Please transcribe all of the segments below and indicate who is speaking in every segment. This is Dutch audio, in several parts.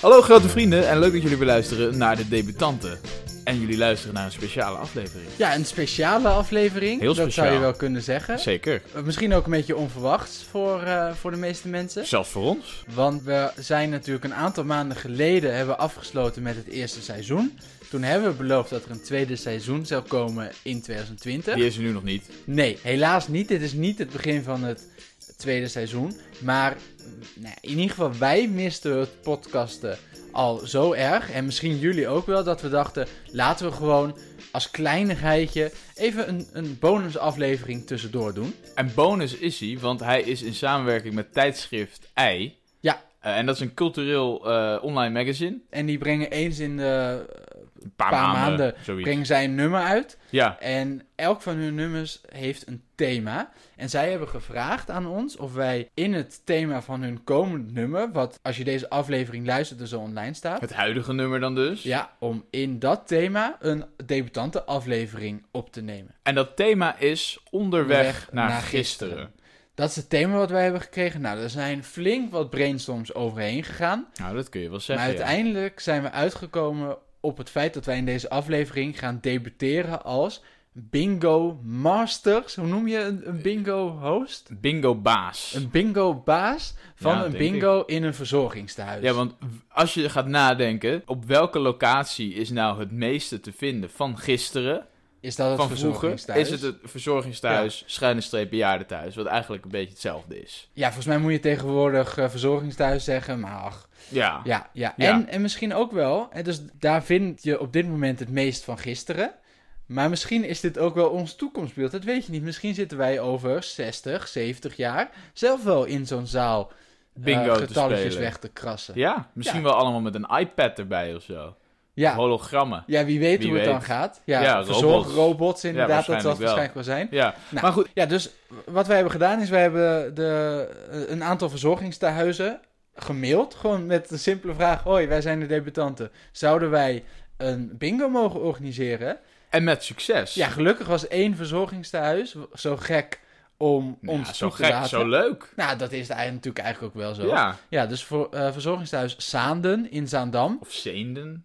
Speaker 1: Hallo grote vrienden en leuk dat jullie weer luisteren naar de debutanten. En jullie luisteren naar een speciale aflevering.
Speaker 2: Ja, een speciale aflevering.
Speaker 1: Heel
Speaker 2: Dat
Speaker 1: speciaal.
Speaker 2: zou je wel kunnen zeggen. Eh,
Speaker 1: Zeker.
Speaker 2: Misschien ook een beetje onverwachts voor, eh, voor de meeste mensen.
Speaker 1: Zelfs voor ons.
Speaker 2: Want we zijn natuurlijk een aantal maanden geleden hebben we afgesloten met het eerste seizoen. Toen hebben we beloofd dat er een tweede seizoen zou komen in 2020.
Speaker 1: Die is er nu nog niet.
Speaker 2: Nee, helaas niet. Dit is niet het begin van het tweede seizoen. Maar mm, nou, in ieder geval, wij misten het podcasten al zo erg. En misschien jullie ook wel, dat we dachten: laten we gewoon als kleinigheidje even een, een bonusaflevering tussendoor doen.
Speaker 1: En bonus is hij, want hij is in samenwerking met tijdschrift Ei.
Speaker 2: Ja.
Speaker 1: Eh, en dat is een cultureel eh, online magazine.
Speaker 2: En die brengen eens in de.
Speaker 1: Een paar,
Speaker 2: Paar
Speaker 1: maanden.
Speaker 2: maanden.
Speaker 1: zoiets.
Speaker 2: brengen zij een nummer uit.
Speaker 1: Ja.
Speaker 2: En elk van hun nummers heeft een thema. En zij hebben gevraagd aan ons of wij in het thema van hun komend nummer, wat als je deze aflevering luistert dus al online staat,
Speaker 1: Het huidige nummer dan dus.
Speaker 2: ja, om in dat thema een debutante aflevering op te nemen.
Speaker 1: En dat thema is onderweg
Speaker 2: Onderweg
Speaker 1: naar,
Speaker 2: naar
Speaker 1: gisteren.
Speaker 2: gisteren. Dat is het thema wat wij hebben gekregen. Nou, er zijn flink wat brainstorms overheen gegaan.
Speaker 1: Nou, dat kun je wel
Speaker 2: Maar
Speaker 1: zeggen. ja.
Speaker 2: uiteindelijk zijn we uitgekomen op het feit dat wij in deze aflevering gaan debuteren als bingo masters. Hoe noem je een, een bingo host?
Speaker 1: Bingo baas.
Speaker 2: Een bingo-baas van
Speaker 1: Ja,
Speaker 2: een
Speaker 1: denk ik.
Speaker 2: bingo in een verzorgingstehuis.
Speaker 1: Ja, want w- als je gaat nadenken, op welke locatie is nou het meeste te vinden van gisteren,
Speaker 2: is dat het
Speaker 1: van vroeger?
Speaker 2: verzorgingstehuis?
Speaker 1: Is het het verzorgingstehuis, schuine streep bejaardentehuis, wat eigenlijk een beetje hetzelfde is.
Speaker 2: Ja, volgens mij moet je tegenwoordig eh, verzorgingstehuis zeggen, maar ach.
Speaker 1: Ja,
Speaker 2: Ja, ja.
Speaker 1: Ja.
Speaker 2: En, en misschien ook wel, en dus daar vind je op dit moment het meest van gisteren. Maar misschien is dit ook wel ons toekomstbeeld, dat weet je niet. Misschien zitten wij over 60, 70 jaar zelf wel in zo'n zaal eh,
Speaker 1: bingo te
Speaker 2: getalletjes
Speaker 1: spelen.
Speaker 2: weg te krassen. Ja,
Speaker 1: Ja, misschien
Speaker 2: Ja.
Speaker 1: wel allemaal met een iPad erbij of zo.
Speaker 2: ja.
Speaker 1: Hologrammen.
Speaker 2: wie weet
Speaker 1: Wie
Speaker 2: hoe het
Speaker 1: weet.
Speaker 2: dan gaat. Ja,
Speaker 1: Ja,
Speaker 2: verzorgrobots inderdaad, dat zal het
Speaker 1: waarschijnlijk wel.
Speaker 2: waarschijnlijk wel zijn.
Speaker 1: Ja,
Speaker 2: Nou,
Speaker 1: maar goed.
Speaker 2: Ja, dus wat wij hebben gedaan is, wij hebben de, eh, een aantal verzorgingstehuizen gemaild. Gewoon met de simpele vraag, hoi, wij zijn de debutanten. Zouden wij een bingo mogen organiseren?
Speaker 1: En met succes.
Speaker 2: Ja, gelukkig was één verzorgingstehuis zo gek om
Speaker 1: Nou,
Speaker 2: ons
Speaker 1: zo
Speaker 2: toe te
Speaker 1: gek,
Speaker 2: laten.
Speaker 1: zo leuk.
Speaker 2: Nou, dat is eigenlijk natuurlijk eigenlijk ook wel zo.
Speaker 1: Ja,
Speaker 2: Ja, dus voor eh, verzorgingstehuis Zaanden in Zaandam.
Speaker 1: of Zeenden.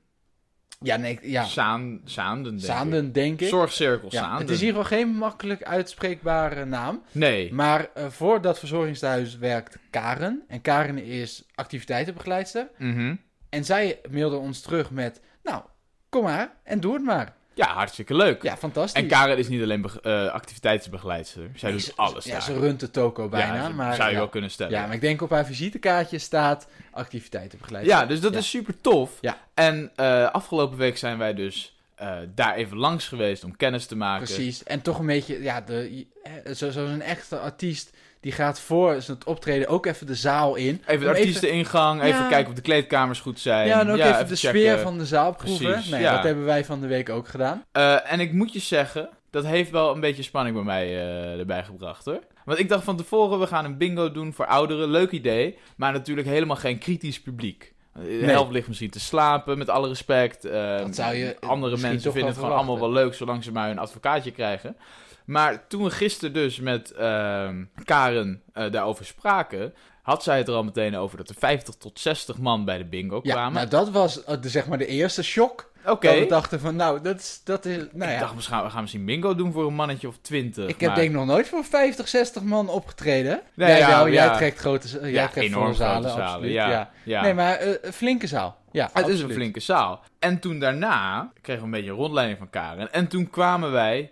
Speaker 2: Ja, nee, ik- ja.
Speaker 1: Zaan, Zaanden, denk ik.
Speaker 2: Zaanden, denk ik.
Speaker 1: Zorgcirkel
Speaker 2: ja,
Speaker 1: Zaanden.
Speaker 2: het is hier wel geen makkelijk uitspreekbare naam.
Speaker 1: Nee,
Speaker 2: Maar eh, voor dat verzorgingstehuis werkt Karen. En Karen is activiteitenbegeleidster.
Speaker 1: Mhm.
Speaker 2: En zij mailde ons terug met... Nou, kom maar en doe het maar.
Speaker 1: ja, hartstikke leuk.
Speaker 2: Ja, fantastisch.
Speaker 1: En Karen is niet alleen bege- eh, activiteitsbegeleidster. Zij
Speaker 2: Nee,
Speaker 1: doet
Speaker 2: ze-
Speaker 1: alles
Speaker 2: Ja,
Speaker 1: daar.
Speaker 2: ze runt de toko bijna.
Speaker 1: Ja, ze- eh,
Speaker 2: maar,
Speaker 1: zou je
Speaker 2: ja.
Speaker 1: wel kunnen stellen.
Speaker 2: Ja,
Speaker 1: Ja,
Speaker 2: maar ik denk op haar visitekaartje staat activiteitenbegeleidster.
Speaker 1: dus dat
Speaker 2: Ja.
Speaker 1: is super tof.
Speaker 2: Ja.
Speaker 1: En eh, afgelopen week zijn wij dus eh, daar even langs geweest om kennis te maken.
Speaker 2: Precies. En toch een beetje... Ja, de, eh, zo- zoals een echte artiest... Die gaat voor zijn optreden ook even de zaal in.
Speaker 1: Even de
Speaker 2: Om
Speaker 1: artiesteningang, even
Speaker 2: Ja.
Speaker 1: kijken of de kleedkamers goed zijn.
Speaker 2: ja, en ook even, de
Speaker 1: checken.
Speaker 2: sfeer van de zaal proeven.
Speaker 1: Precies,
Speaker 2: Nee,
Speaker 1: ja.
Speaker 2: dat hebben wij van de week ook gedaan.
Speaker 1: Eh, en ik moet je zeggen, dat heeft wel een beetje spanning bij mij eh, erbij gebracht hoor. Want ik dacht van tevoren, we gaan een bingo doen voor ouderen. Leuk idee, maar natuurlijk helemaal geen kritisch publiek. Eh, De helft ligt misschien te slapen, met alle respect. Eh,
Speaker 2: Dat zou je
Speaker 1: andere
Speaker 2: misschien
Speaker 1: mensen
Speaker 2: toch
Speaker 1: vinden het
Speaker 2: wel
Speaker 1: gewoon allemaal wel leuk, zolang ze maar hun advocaatje krijgen. Maar toen we gisteren dus met ehm, Karen eh, daarover spraken, had zij het er al meteen over dat er 50 tot 60 man bij de bingo
Speaker 2: Ja,
Speaker 1: kwamen.
Speaker 2: nou dat was eh, de, zeg maar de eerste shock.
Speaker 1: Oké.
Speaker 2: Dat we dachten van, nou, dat is... Dat is nou ja,
Speaker 1: ik dacht, we gaan, we gaan misschien bingo doen voor een mannetje of twintig.
Speaker 2: ik heb
Speaker 1: maar-
Speaker 2: denk ik nog nooit voor 50, 60 man opgetreden.
Speaker 1: Nee,
Speaker 2: jij
Speaker 1: ja,
Speaker 2: wel,
Speaker 1: ja.
Speaker 2: jij trekt grote z- jij
Speaker 1: ja,
Speaker 2: trekt
Speaker 1: enorm
Speaker 2: volle
Speaker 1: grote
Speaker 2: zalen,
Speaker 1: zalen.
Speaker 2: absoluut.
Speaker 1: ja,
Speaker 2: Ja.
Speaker 1: ja.
Speaker 2: Nee, maar eh, een flinke zaal. Ja,
Speaker 1: het is een
Speaker 2: absoluut.
Speaker 1: flinke zaal. En toen daarna kregen we een beetje een rondleiding van Karen. En toen kwamen wij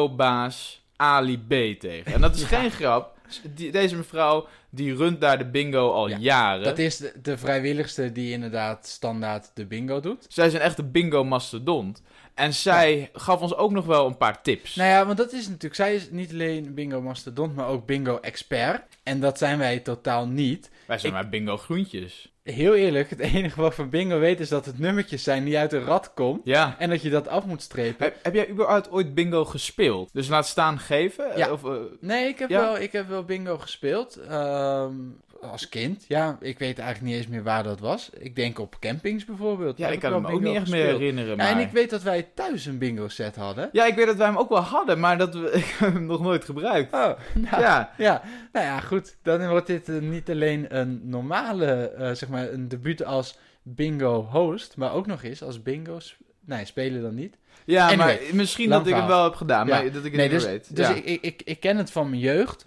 Speaker 1: bingo-baas Ali B tegen. En dat is geen grap. Die- deze mevrouw die runt daar de bingo al
Speaker 2: Ja,
Speaker 1: jaren.
Speaker 2: Dat is de, de vrijwilligste die inderdaad standaard de bingo doet.
Speaker 1: Zij is een echte bingo-mastodont. En zij gaf ons ook nog wel een paar tips.
Speaker 2: Nou ja, want dat is natuurlijk... Zij is niet alleen bingo mastodont, maar ook bingo expert. En dat zijn wij totaal niet.
Speaker 1: Wij zijn
Speaker 2: ik-
Speaker 1: maar bingo-groentjes.
Speaker 2: Heel eerlijk, het enige wat ik van bingo weet is dat het nummertjes zijn die uit een rad komen.
Speaker 1: Ja.
Speaker 2: En dat je dat af moet strepen.
Speaker 1: Heb, heb jij überhaupt ooit bingo gespeeld? Dus laat staan geven?
Speaker 2: Ja.
Speaker 1: Of, eh,
Speaker 2: Nee, ik heb,
Speaker 1: Ja?
Speaker 2: wel, ik heb wel bingo gespeeld. Ehm, als kind, ja. Ik weet eigenlijk niet eens meer waar dat was. Ik denk op campings bijvoorbeeld.
Speaker 1: Ja,
Speaker 2: Daar
Speaker 1: ik
Speaker 2: heb
Speaker 1: kan me
Speaker 2: wel
Speaker 1: ook niet
Speaker 2: bingo
Speaker 1: echt meer
Speaker 2: gespeeld.
Speaker 1: herinneren.
Speaker 2: Ja,
Speaker 1: Maar...
Speaker 2: en ik weet dat wij thuis een bingo set hadden.
Speaker 1: Ja, ik weet dat wij hem ook wel hadden, maar dat we ik heb hem nog nooit gebruikt.
Speaker 2: Oh, nou, ja.
Speaker 1: Ja,
Speaker 2: nou ja, goed. Dan wordt dit eh, niet alleen een normale, eh, zeg maar, een debuut als bingo host, maar ook nog eens als bingo... sp- Nee, spelen dan niet.
Speaker 1: Ja,
Speaker 2: Anyway,
Speaker 1: maar misschien
Speaker 2: lang
Speaker 1: dat ik het
Speaker 2: verhaal.
Speaker 1: wel heb gedaan, maar
Speaker 2: Ja.
Speaker 1: dat ik het
Speaker 2: Nee,
Speaker 1: niet
Speaker 2: dus,
Speaker 1: meer weet.
Speaker 2: dus
Speaker 1: ja.
Speaker 2: ik, ik, ik, ik ken het van mijn jeugd.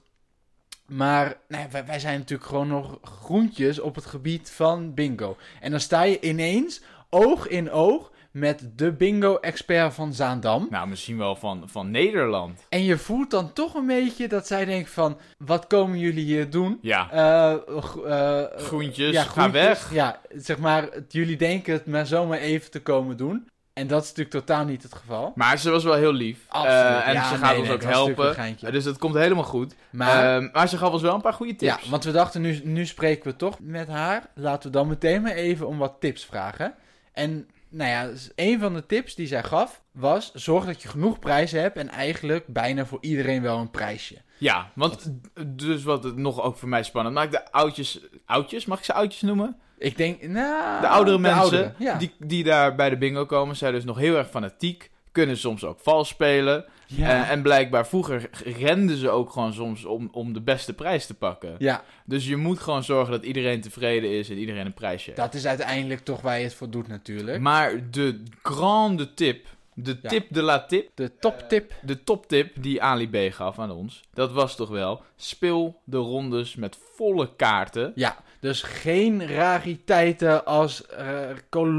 Speaker 2: Maar nee, wij, wij zijn natuurlijk gewoon nog groentjes op het gebied van bingo. En dan sta je ineens oog in oog met de bingo-expert van Zaandam.
Speaker 1: Nou, misschien wel van, van Nederland.
Speaker 2: En je voelt dan toch een beetje dat zij denkt van... Wat komen jullie hier doen?
Speaker 1: Ja,
Speaker 2: Eh, gro- eh,
Speaker 1: groentjes,
Speaker 2: ja,
Speaker 1: ga
Speaker 2: groentjes.
Speaker 1: weg.
Speaker 2: Ja, zeg maar, het- jullie denken het maar zomaar even te komen doen. En dat is natuurlijk totaal niet het geval.
Speaker 1: Maar ze was wel heel lief.
Speaker 2: Absoluut.
Speaker 1: Eh, en
Speaker 2: Ja,
Speaker 1: ze gaat
Speaker 2: nee,
Speaker 1: ons
Speaker 2: nee,
Speaker 1: ook
Speaker 2: het was natuurlijk
Speaker 1: helpen.
Speaker 2: een geintje.
Speaker 1: Eh, Dus dat komt helemaal goed.
Speaker 2: Maar
Speaker 1: Ehm, maar ze gaf ons wel een paar goede tips.
Speaker 2: Ja, want we dachten, nu, nu spreken we toch met haar. Laten we dan meteen maar even om wat tips vragen. En nou ja, dus een van de tips die zij gaf was... zorg dat je genoeg prijzen hebt en eigenlijk bijna voor iedereen wel een prijsje.
Speaker 1: Ja, want dus wat het nog ook voor mij spannend maakt, de oudjes, oudjes, mag ik ze oudjes noemen?
Speaker 2: Ik denk, nou...
Speaker 1: De oudere mensen
Speaker 2: ouderen, ja.
Speaker 1: die, die daar bij de bingo komen, zijn dus nog heel erg fanatiek, kunnen soms ook vals spelen.
Speaker 2: ja.
Speaker 1: Eh, en blijkbaar vroeger g- renden ze ook gewoon soms om, om de beste prijs te pakken.
Speaker 2: ja,
Speaker 1: Dus je moet gewoon zorgen dat iedereen tevreden is en iedereen een prijsje heeft.
Speaker 2: dat is uiteindelijk toch waar je het voor doet natuurlijk.
Speaker 1: Maar de grande tip, de
Speaker 2: Ja.
Speaker 1: tip de la tip,
Speaker 2: De toptip.
Speaker 1: de toptip die Ali B gaf aan ons, dat was toch wel, speel de rondes met volle kaarten.
Speaker 2: Ja, dus geen rariteiten als eh,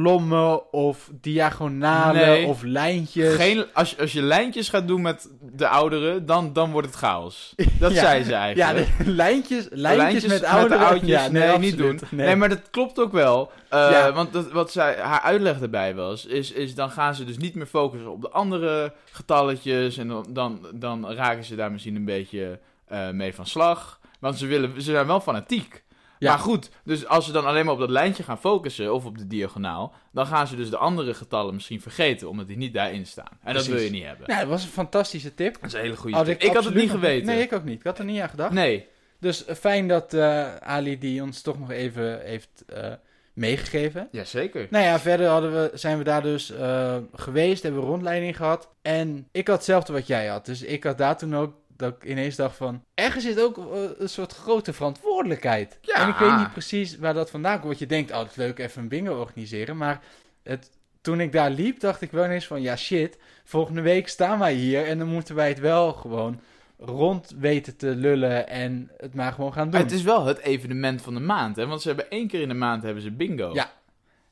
Speaker 2: kolommen of diagonalen
Speaker 1: Nee.
Speaker 2: of lijntjes.
Speaker 1: Geen, als, je- als je lijntjes gaat doen met de ouderen, dan, dan wordt het chaos. Dat
Speaker 2: Ja.
Speaker 1: zei ze
Speaker 2: Ja,
Speaker 1: eigenlijk.
Speaker 2: de- lijntjes, lijntjes, met
Speaker 1: de
Speaker 2: ouderen.
Speaker 1: oudjes,
Speaker 2: Ja,
Speaker 1: nee, niet doen.
Speaker 2: absoluut.
Speaker 1: Nee. maar dat klopt ook wel. Eh,
Speaker 2: Ja.
Speaker 1: Want dat, wat zij, haar uitleg daarbij was, is, is dan gaan ze dus niet meer focussen op de andere getalletjes. En dan, dan, dan raken ze daar misschien een beetje eh, mee van slag. Want ze, willen, ze zijn wel fanatiek.
Speaker 2: Ja.
Speaker 1: Maar goed, dus als ze dan alleen maar op dat lijntje gaan focussen, of op de diagonaal, dan gaan ze dus de andere getallen misschien vergeten, omdat die niet daarin staan. En dat
Speaker 2: Precies.
Speaker 1: wil je niet hebben.
Speaker 2: Nou, dat was een fantastische tip.
Speaker 1: Dat is een hele goede
Speaker 2: Had
Speaker 1: tip. Ik had het
Speaker 2: absoluut
Speaker 1: niet
Speaker 2: nog-
Speaker 1: geweten.
Speaker 2: Nee, ik ook niet. Ik had er niet aan gedacht.
Speaker 1: Nee.
Speaker 2: Dus eh, fijn dat eh, Ali die ons toch nog even heeft eh, meegegeven.
Speaker 1: Jazeker.
Speaker 2: Nou ja, verder hadden we, zijn we daar dus eh, geweest, hebben we rondleiding gehad. En ik had hetzelfde wat jij had. Dus ik had daar toen ook dat ik ineens dacht van... Ergens zit ook eh, een soort grote verantwoordelijkheid.
Speaker 1: Ja.
Speaker 2: En ik weet niet precies waar dat vandaan komt. Want je denkt, oh, het is leuk even een bingo organiseren. Maar het, toen ik daar liep, dacht ik wel ineens van... Ja, shit, volgende week staan wij hier en dan moeten wij het wel gewoon rond weten te lullen en het maar gewoon gaan doen.
Speaker 1: Maar het is wel het evenement van de maand, hè? Want ze hebben één keer in de maand hebben ze bingo.
Speaker 2: Ja.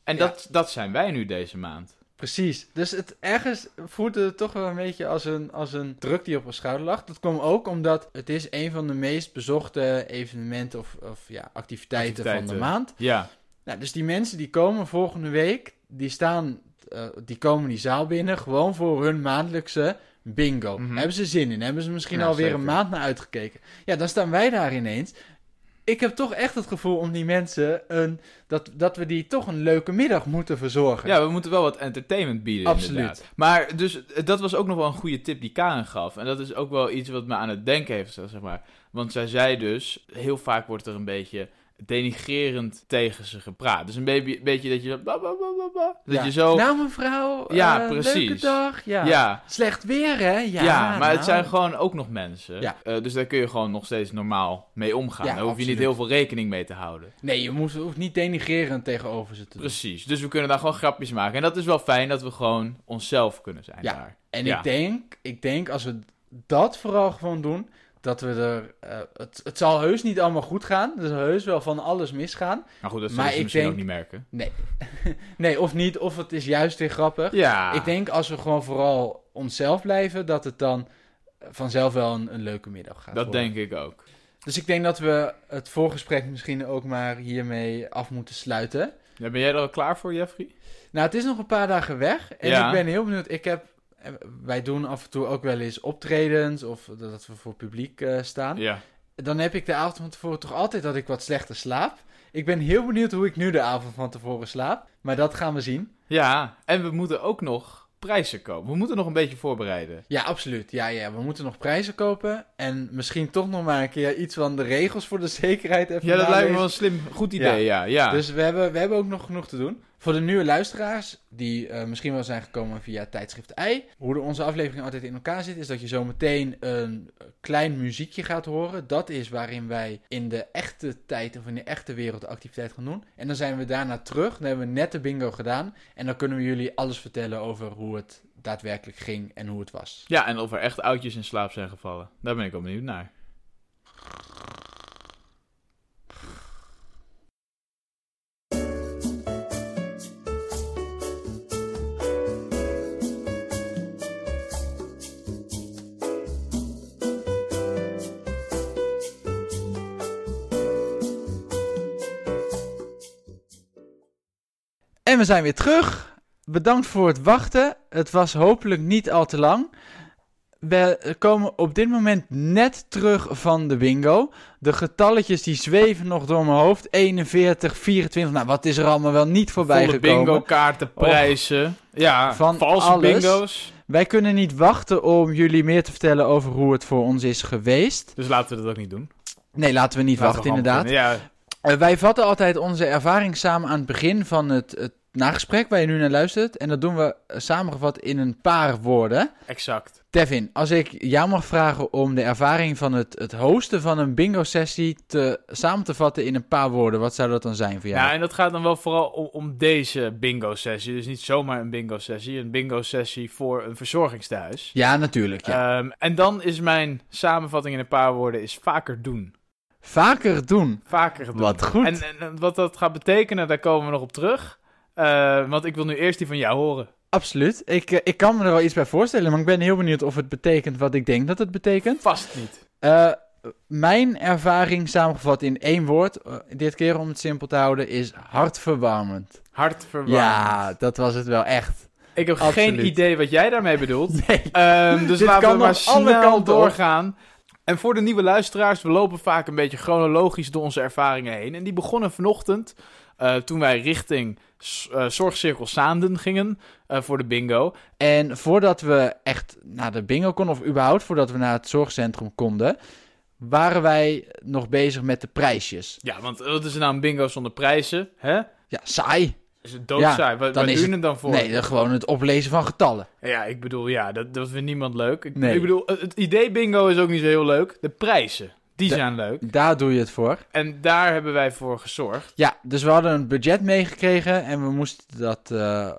Speaker 1: En
Speaker 2: Ja.
Speaker 1: dat, dat zijn wij nu deze maand.
Speaker 2: Precies. Dus het ergens voelde het toch wel een beetje als een, als een druk die op mijn schouder lag. Dat kwam ook omdat het is een van de meest bezochte evenementen of, of ja, activiteiten, van
Speaker 1: Activiteiten.
Speaker 2: de maand.
Speaker 1: Ja.
Speaker 2: Nou, dus die mensen die komen volgende week, die staan, eh, die komen die zaal binnen gewoon voor hun maandelijkse bingo.
Speaker 1: Mhm.
Speaker 2: Hebben ze zin in? Hebben ze misschien
Speaker 1: Ja,
Speaker 2: alweer
Speaker 1: zeker.
Speaker 2: een maand naar uitgekeken? Ja, dan staan wij daar ineens. Ik heb toch echt het gevoel om die mensen een, dat, dat we die toch een leuke middag moeten verzorgen.
Speaker 1: Ja, we moeten wel wat entertainment bieden.
Speaker 2: Absoluut.
Speaker 1: inderdaad. Maar dus eh, dat was ook nog wel een goede tip die Karen gaf. En dat is ook wel iets wat me aan het denken heeft gezet, zeg maar. Want zij zei dus, heel vaak wordt er een beetje denigrerend tegen ze gepraat. Dus een beetje, beetje dat je zo... ba, ba, ba, ba, ba. dat
Speaker 2: Ja.
Speaker 1: je zo...
Speaker 2: Nou, mevrouw.
Speaker 1: Ja,
Speaker 2: eh, Leuke
Speaker 1: precies.
Speaker 2: dag. Ja.
Speaker 1: ja,
Speaker 2: Slecht weer, hè? Ja,
Speaker 1: Ja, maar
Speaker 2: nou.
Speaker 1: het zijn gewoon ook nog mensen.
Speaker 2: Ja.
Speaker 1: Eh, dus daar kun je gewoon nog steeds normaal mee omgaan.
Speaker 2: Ja,
Speaker 1: daar hoef je
Speaker 2: absoluut.
Speaker 1: niet heel veel rekening mee te houden.
Speaker 2: Nee, je moet, hoeft niet denigrerend tegenover ze te doen.
Speaker 1: Precies. Dus we kunnen daar gewoon grapjes maken. En dat is wel fijn dat we gewoon onszelf kunnen zijn
Speaker 2: Ja.
Speaker 1: daar.
Speaker 2: En
Speaker 1: Ja.
Speaker 2: ik, denk, ik denk, als we dat vooral gewoon doen, dat we er... eh, het, het zal heus niet allemaal goed gaan. Er zal heus wel van alles misgaan.
Speaker 1: Maar goed, dat
Speaker 2: Maar
Speaker 1: zullen ze
Speaker 2: ik
Speaker 1: misschien
Speaker 2: denk-
Speaker 1: ook niet merken.
Speaker 2: Nee, of niet. Of het is juist weer grappig.
Speaker 1: Ja.
Speaker 2: Ik denk, als we gewoon vooral onszelf blijven, dat het dan vanzelf wel een, een leuke middag gaat
Speaker 1: dat
Speaker 2: worden.
Speaker 1: denk ik ook.
Speaker 2: Dus ik denk dat we het voorgesprek misschien ook maar hiermee af moeten sluiten.
Speaker 1: Ja, ben jij er al klaar voor, Jeffrey?
Speaker 2: Nou, het is nog een paar dagen weg. En
Speaker 1: Ja.
Speaker 2: ik ben heel benieuwd. Ik heb, eh, wij doen af en toe ook wel eens optredens of dat we voor publiek eh, staan.
Speaker 1: Ja.
Speaker 2: Dan heb ik de avond van tevoren toch altijd dat ik wat slechter slaap. Ik ben heel benieuwd hoe ik nu de avond van tevoren slaap. Maar dat gaan we zien.
Speaker 1: Ja, en we moeten ook nog prijzen kopen. We moeten nog een beetje voorbereiden.
Speaker 2: Ja, absoluut. Ja, ja, we moeten nog prijzen kopen. En misschien toch nog maar een keer iets van de regels voor de zekerheid even
Speaker 1: Ja, dat lijkt me
Speaker 2: nalezen.
Speaker 1: wel een slim, goed idee. Ja, ja.
Speaker 2: Dus we hebben, we hebben ook nog genoeg te doen. Voor de nieuwe luisteraars, die eh, misschien wel zijn gekomen via tijdschrift Ei. Hoe de- onze aflevering altijd in elkaar zit, is dat je zometeen een klein muziekje gaat horen. Dat is waarin wij in de echte tijd of in de echte wereld de activiteit gaan doen. En dan zijn we daarna terug. Dan hebben we net de bingo gedaan. En dan kunnen we jullie alles vertellen over hoe het daadwerkelijk ging en hoe het was.
Speaker 1: Ja, en of er echt oudjes in slaap zijn gevallen. Daar ben ik wel benieuwd naar.
Speaker 2: En we zijn weer terug. Bedankt voor het wachten. Het was hopelijk niet al te lang. We komen op dit moment net terug van de bingo. De getalletjes die zweven nog door mijn hoofd. 41, 24. Nou, wat is er allemaal wel niet voorbij
Speaker 1: Volle
Speaker 2: gekomen?
Speaker 1: bingo kaarten, prijzen. ja,
Speaker 2: Van
Speaker 1: valse
Speaker 2: alles.
Speaker 1: bingo's.
Speaker 2: Wij kunnen niet wachten om jullie meer te vertellen over hoe het voor ons is geweest.
Speaker 1: Dus laten we dat ook niet doen.
Speaker 2: Nee, laten we niet
Speaker 1: Laten we
Speaker 2: wachten,
Speaker 1: gewoon
Speaker 2: inderdaad.
Speaker 1: beginnen. Ja,
Speaker 2: Eh, wij vatten altijd onze ervaring samen aan het begin van het, het nagesprek waar je nu naar luistert. En dat doen we eh, samengevat in een paar woorden.
Speaker 1: exact.
Speaker 2: Tevin, als ik jou mag vragen om de ervaring van het, het hosten van een bingo-sessie te, samen te vatten in een paar woorden, wat zou dat dan zijn voor jou?
Speaker 1: Ja, en dat gaat dan wel vooral om, om deze bingo-sessie. Dus niet zomaar een bingo-sessie. Een bingo-sessie voor een verzorgingstehuis.
Speaker 2: Ja, natuurlijk. Ja.
Speaker 1: Ehm, en dan is mijn samenvatting in een paar woorden is vaker doen.
Speaker 2: Vaker doen.
Speaker 1: Vaker doen.
Speaker 2: Wat goed.
Speaker 1: En, en, en wat dat gaat betekenen, daar komen we nog op terug. Eh, want ik wil nu eerst die van jou horen.
Speaker 2: Absoluut. Ik, eh, ik kan me er wel iets bij voorstellen, maar ik ben heel benieuwd of het betekent wat ik denk dat het betekent.
Speaker 1: Vast niet.
Speaker 2: Eh, mijn ervaring samengevat in één woord, eh, dit keer om het simpel te houden, is hartverwarmend.
Speaker 1: Hartverwarmend.
Speaker 2: Ja, dat was het wel echt.
Speaker 1: ik heb
Speaker 2: absoluut.
Speaker 1: geen idee wat jij daarmee bedoelt.
Speaker 2: Nee.
Speaker 1: Ehm, dus
Speaker 2: Dit
Speaker 1: laten we
Speaker 2: kan
Speaker 1: maar
Speaker 2: nog alle
Speaker 1: snel
Speaker 2: kanten op.
Speaker 1: doorgaan. En voor de nieuwe luisteraars, we lopen vaak een beetje chronologisch door onze ervaringen heen. En die begonnen vanochtend eh, toen wij richting S- eh, Zorgcirkel Saanden gingen eh, voor de bingo.
Speaker 2: En voordat we echt naar de bingo konden, of überhaupt voordat we naar het zorgcentrum konden, waren wij nog bezig met de prijsjes.
Speaker 1: Ja, want eh, wat is er nou een bingo zonder prijzen? Hè?
Speaker 2: Ja, saai.
Speaker 1: Is het doodzaai? Wat-
Speaker 2: dan
Speaker 1: Waar
Speaker 2: is
Speaker 1: doen het dan voor?
Speaker 2: Nee, dan gewoon het oplezen van getallen.
Speaker 1: Ja, ik bedoel, ja, dat, dat vindt niemand leuk. Ik,
Speaker 2: Nee.
Speaker 1: ik bedoel, het het idee bingo is ook niet zo heel leuk. De prijzen, die
Speaker 2: De-
Speaker 1: zijn leuk.
Speaker 2: Daar doe je het voor.
Speaker 1: En daar hebben wij voor gezorgd.
Speaker 2: Ja, dus we hadden een budget meegekregen en we moesten dat, eh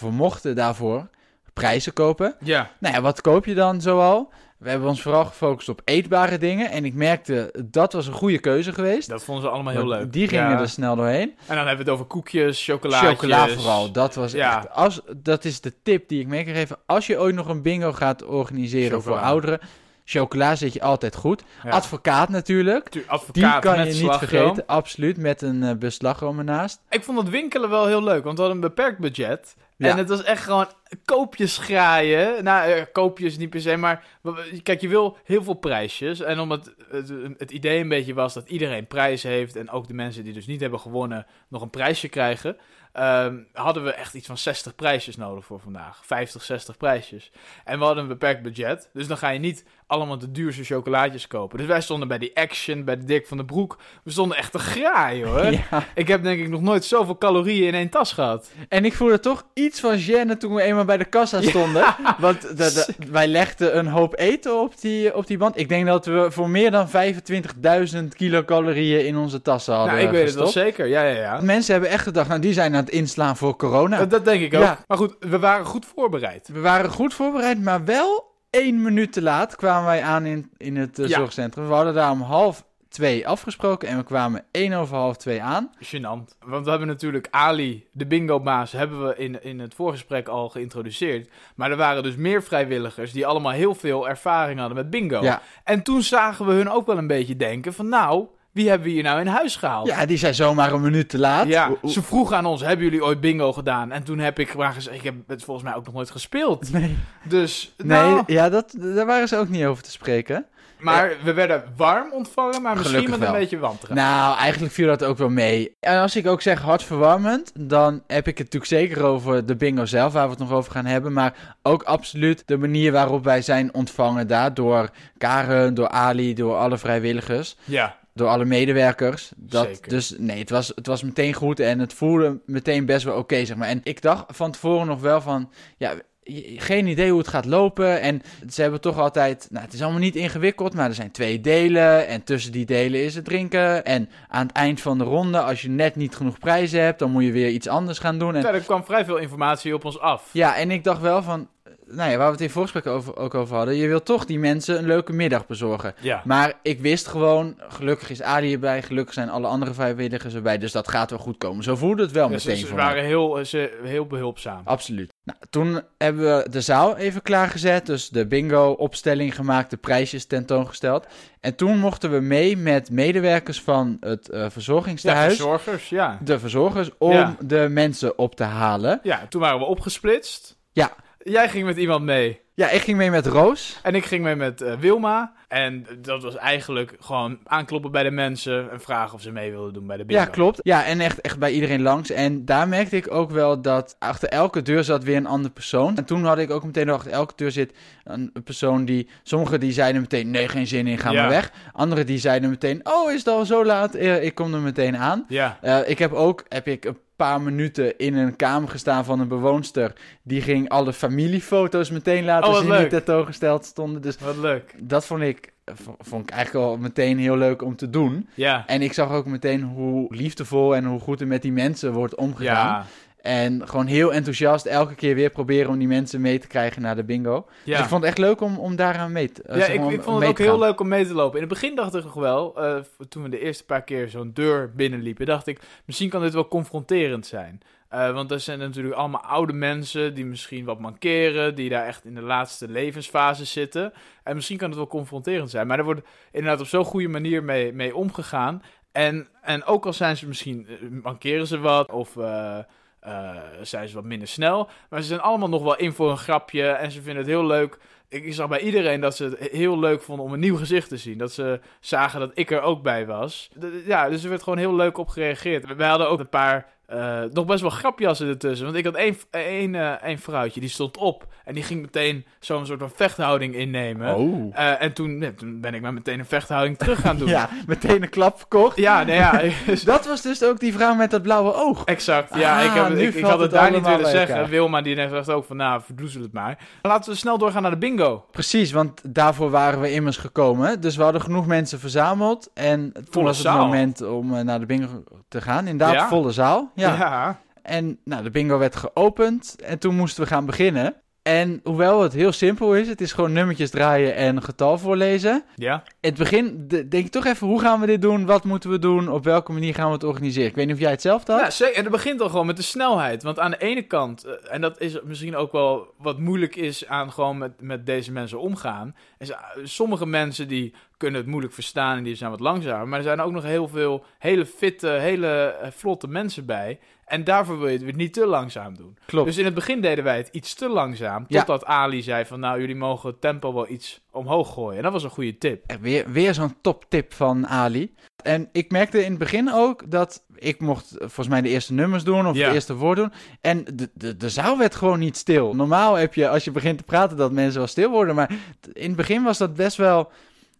Speaker 2: we mochten daarvoor prijzen kopen.
Speaker 1: Ja.
Speaker 2: Nou ja, wat koop je dan zoal? We hebben ons vooral gefocust op eetbare dingen en ik merkte dat was een goede keuze geweest.
Speaker 1: Dat vonden ze allemaal heel
Speaker 2: Want
Speaker 1: leuk.
Speaker 2: Die gingen
Speaker 1: Ja.
Speaker 2: er snel doorheen.
Speaker 1: En dan hebben we het over koekjes, chocolaatjes.
Speaker 2: Chocola vooral, dat was
Speaker 1: Ja.
Speaker 2: echt... Als, dat is de tip die ik mee kan geven. Als je ooit nog een bingo gaat organiseren
Speaker 1: Chocola.
Speaker 2: voor ouderen... Chocola zit je altijd goed.
Speaker 1: Ja.
Speaker 2: Advocaat natuurlijk.
Speaker 1: Tu-
Speaker 2: Die
Speaker 1: advocaat
Speaker 2: kan je
Speaker 1: met
Speaker 2: niet
Speaker 1: slagroom.
Speaker 2: vergeten. Absoluut, met een eh, beslagroom ernaast.
Speaker 1: Ik vond dat winkelen wel heel leuk, want we hadden een beperkt budget.
Speaker 2: Ja.
Speaker 1: En het was echt gewoon koopjes graaien. Nou, eh, koopjes niet per se, maar w- kijk, je wil heel veel prijsjes. En omdat het, het idee een beetje was dat iedereen prijs heeft en ook de mensen die dus niet hebben gewonnen nog een prijsje krijgen, ehm, hadden we echt iets van 60 prijsjes nodig voor vandaag. 50, 60 prijsjes. En we hadden een beperkt budget, dus dan ga je niet allemaal de duurste chocolaatjes kopen. Dus wij stonden bij die Action, bij de Dick van de Broek. We stonden echt te graaien hoor.
Speaker 2: Ja.
Speaker 1: Ik heb denk ik nog nooit zoveel calorieën in één tas gehad.
Speaker 2: En ik voelde toch iets van gêne toen we eenmaal bij de kassa stonden. Want de- de- wij legden een hoop eten op die, op die band. Ik denk dat we voor meer dan 25.000 kilocalorieën in onze tassen hadden
Speaker 1: Nou, ik weet het wel
Speaker 2: gestopt.
Speaker 1: zeker. Ja, ja, ja.
Speaker 2: Mensen hebben echt gedacht, nou die zijn aan het inslaan voor corona.
Speaker 1: Dat, dat denk ik ook.
Speaker 2: Ja.
Speaker 1: Maar goed, we waren goed voorbereid.
Speaker 2: We waren goed voorbereid, maar wel één minuut te laat kwamen wij aan in, in het eh,
Speaker 1: Ja.
Speaker 2: zorgcentrum. We hadden daar om half twee afgesproken en we kwamen één over half twee aan.
Speaker 1: Gênant. Want we hebben natuurlijk Ali, de bingo-baas, hebben we in, in het voorgesprek al geïntroduceerd. Maar er waren dus meer vrijwilligers die allemaal heel veel ervaring hadden met bingo.
Speaker 2: Ja.
Speaker 1: En toen zagen we hun ook wel een beetje denken van nou, wie hebben we hier nou in huis gehaald?
Speaker 2: Ja, die zijn zomaar een minuut te laat.
Speaker 1: Ja,
Speaker 2: O- o-
Speaker 1: ze vroeg aan ons, hebben jullie ooit bingo gedaan? En toen heb ik maar gezegd, ik heb het volgens mij ook nog nooit gespeeld.
Speaker 2: Nee,
Speaker 1: Dus,
Speaker 2: nee
Speaker 1: nou,
Speaker 2: ja, dat, daar waren ze ook niet over te spreken.
Speaker 1: Maar we werden warm ontvangen, maar misschien
Speaker 2: Gelukkig
Speaker 1: met een
Speaker 2: wel.
Speaker 1: beetje wantrouwen.
Speaker 2: Nou, eigenlijk viel dat ook wel mee. En als ik ook zeg hartverwarmend, dan heb ik het natuurlijk zeker over de bingo zelf, waar we het nog over gaan hebben. Maar ook absoluut de manier waarop wij zijn ontvangen daar door Karen, door Ali, door alle vrijwilligers.
Speaker 1: Ja,
Speaker 2: door alle medewerkers. Dat,
Speaker 1: Zeker.
Speaker 2: Dus nee, het was, het was meteen goed en het voelde meteen best wel oké, zeg maar. En ik dacht van tevoren nog wel van, ja, je- geen idee hoe het gaat lopen. En ze hebben toch altijd, nou, het is allemaal niet ingewikkeld, maar er zijn twee delen. En tussen die delen is het drinken. En aan het eind van de ronde, als je net niet genoeg prijzen hebt, dan moet je weer iets anders gaan doen. En
Speaker 1: Ja, er kwam vrij veel informatie op ons af.
Speaker 2: ja, en ik dacht wel van, eh, nou ja, waar we het in het voorgesprek over, ook over hadden, je wilt toch die mensen een leuke middag bezorgen.
Speaker 1: Ja.
Speaker 2: Maar ik wist gewoon, gelukkig is Ali erbij, gelukkig zijn alle andere vrijwilligers erbij, dus dat gaat wel goed komen. Zo voelde het wel
Speaker 1: Ja,
Speaker 2: meteen
Speaker 1: ze, ze
Speaker 2: voor mij.
Speaker 1: waren heel, eh, ze, heel behulpzaam.
Speaker 2: Absoluut. Nou, toen hebben we de zaal even klaargezet, dus de bingo-opstelling gemaakt, de prijsjes tentoongesteld. En toen mochten we mee met medewerkers van het eh
Speaker 1: Ja,
Speaker 2: verzorgingstehuis,
Speaker 1: verzorgers, ja.
Speaker 2: de verzorgers, om
Speaker 1: Ja.
Speaker 2: de mensen op te halen.
Speaker 1: Ja, toen waren we opgesplitst.
Speaker 2: Ja.
Speaker 1: Jij ging met iemand mee.
Speaker 2: Ja, ik ging mee met Roos.
Speaker 1: En ik ging mee met eh, Wilma. En dat was eigenlijk gewoon aankloppen bij de mensen en vragen of ze mee wilden doen bij de bingo.
Speaker 2: Ja, klopt. Ja, en echt, echt bij iedereen langs. En daar merkte ik ook wel dat achter elke deur zat weer een andere persoon. En toen had ik ook meteen nog achter elke deur zit een een persoon die... Sommigen die zeiden meteen, nee, geen zin in, ga
Speaker 1: Ja.
Speaker 2: maar weg. Anderen die zeiden meteen, oh, is het al zo laat? Eh, Ik kom er meteen aan.
Speaker 1: Ja,
Speaker 2: Eh, ik heb ook heb ik een paar minuten in een kamer gestaan van een bewoonster. Die ging alle familiefoto's meteen laten
Speaker 1: Oh, wat
Speaker 2: zien
Speaker 1: leuk.
Speaker 2: die tentoongesteld stonden. Dus
Speaker 1: wat leuk.
Speaker 2: dat vond ik, vond ik eigenlijk al meteen heel leuk om te doen.
Speaker 1: Ja.
Speaker 2: En ik zag ook meteen hoe liefdevol en hoe goed er met die mensen wordt omgegaan.
Speaker 1: Ja.
Speaker 2: En gewoon heel enthousiast elke keer weer proberen om die mensen mee te krijgen naar de bingo. Dus
Speaker 1: Ja.
Speaker 2: ik vond het echt leuk om, om daaraan mee te eh,
Speaker 1: Ja,
Speaker 2: zeg
Speaker 1: ik,
Speaker 2: maar, om-
Speaker 1: ik
Speaker 2: om
Speaker 1: vond het
Speaker 2: mee
Speaker 1: ook
Speaker 2: te
Speaker 1: heel
Speaker 2: gaan.
Speaker 1: leuk om mee te lopen. In het begin dacht ik nog wel, eh, v- toen we de eerste paar keer zo'n deur binnenliepen, dacht ik, misschien kan dit wel confronterend zijn. Eh, want er zijn natuurlijk allemaal oude mensen die misschien wat mankeren, die daar echt in de laatste levensfase zitten. En misschien kan het wel confronterend zijn. Maar er wordt inderdaad op zo'n goede manier mee, mee omgegaan. En, en ook al zijn ze misschien, eh, mankeren ze wat of... eh, eh, zijn ze wat minder snel. Maar ze zijn allemaal nog wel in voor een grapje. En ze vinden het heel leuk ik ik zag bij iedereen dat ze het heel leuk vonden om een nieuw gezicht te zien. Dat ze zagen dat ik er ook bij was. D- d- Ja, dus er werd gewoon heel leuk op gereageerd. We- Wij hadden ook een paar, eh, nog best wel grapjassen ertussen. Want ik had één, één, eh, één vrouwtje, die stond op. En die ging meteen zo'n soort van vechthouding innemen.
Speaker 2: Oh.
Speaker 1: Eh, en toen, nee, toen ben ik maar meteen een vechthouding terug gaan doen.
Speaker 2: Ja, meteen een klap verkocht.
Speaker 1: ja, nee, ja.
Speaker 2: Dat was dus ook die vrouw met dat blauwe oog.
Speaker 1: Exact, ja.
Speaker 2: Ah,
Speaker 1: ik, heb,
Speaker 2: nu
Speaker 1: ik, ik
Speaker 2: valt
Speaker 1: had het
Speaker 2: het
Speaker 1: daar niet
Speaker 2: allemaal
Speaker 1: willen
Speaker 2: bij
Speaker 1: zeggen.
Speaker 2: elkaar.
Speaker 1: Wilma die net dacht ook van, nou, verdoezel het maar. Laten we snel doorgaan naar de bingo.
Speaker 2: Precies, want daarvoor waren we immers gekomen. Dus we hadden genoeg mensen verzameld. En toen
Speaker 1: Volle
Speaker 2: was het
Speaker 1: zaal.
Speaker 2: moment om eh, naar de bingo te gaan. Inderdaad,
Speaker 1: Ja.
Speaker 2: volle zaal.
Speaker 1: ja.
Speaker 2: En nou, de bingo werd geopend en toen moesten we gaan beginnen. En hoewel het heel simpel is, het is gewoon nummertjes draaien en een getal voorlezen.
Speaker 1: ja.
Speaker 2: In het begin de- denk ik toch even, hoe gaan we dit doen? Wat moeten we doen? Op welke manier gaan we het organiseren? Ik weet niet of jij hetzelfde had.
Speaker 1: Ja, zeker. En dat begint al gewoon met de snelheid. Want aan de ene kant, eh, en dat is misschien ook wel wat moeilijk is aan gewoon met, met deze mensen omgaan. Is, eh, sommige mensen die kunnen het moeilijk verstaan en die zijn wat langzamer. Maar er zijn ook nog heel veel hele fitte, hele eh, vlotte mensen bij. En daarvoor wil je het weer niet te langzaam doen.
Speaker 2: Klopt.
Speaker 1: Dus in het begin deden wij het iets te langzaam.
Speaker 2: Ja.
Speaker 1: Totdat Ali zei van nou, jullie mogen het tempo wel iets omhoog gooien. En dat was een goede tip.
Speaker 2: Eh, Weer, weer zo'n toptip van Ali. En ik merkte in het begin ook dat ik mocht eh, volgens mij de eerste nummers doen of
Speaker 1: Ja.
Speaker 2: de eerste woord doen. En de, de, de zaal werd gewoon niet stil. Normaal heb je, als je begint te praten, dat mensen wel stil worden. Maar t- in het begin was dat best wel...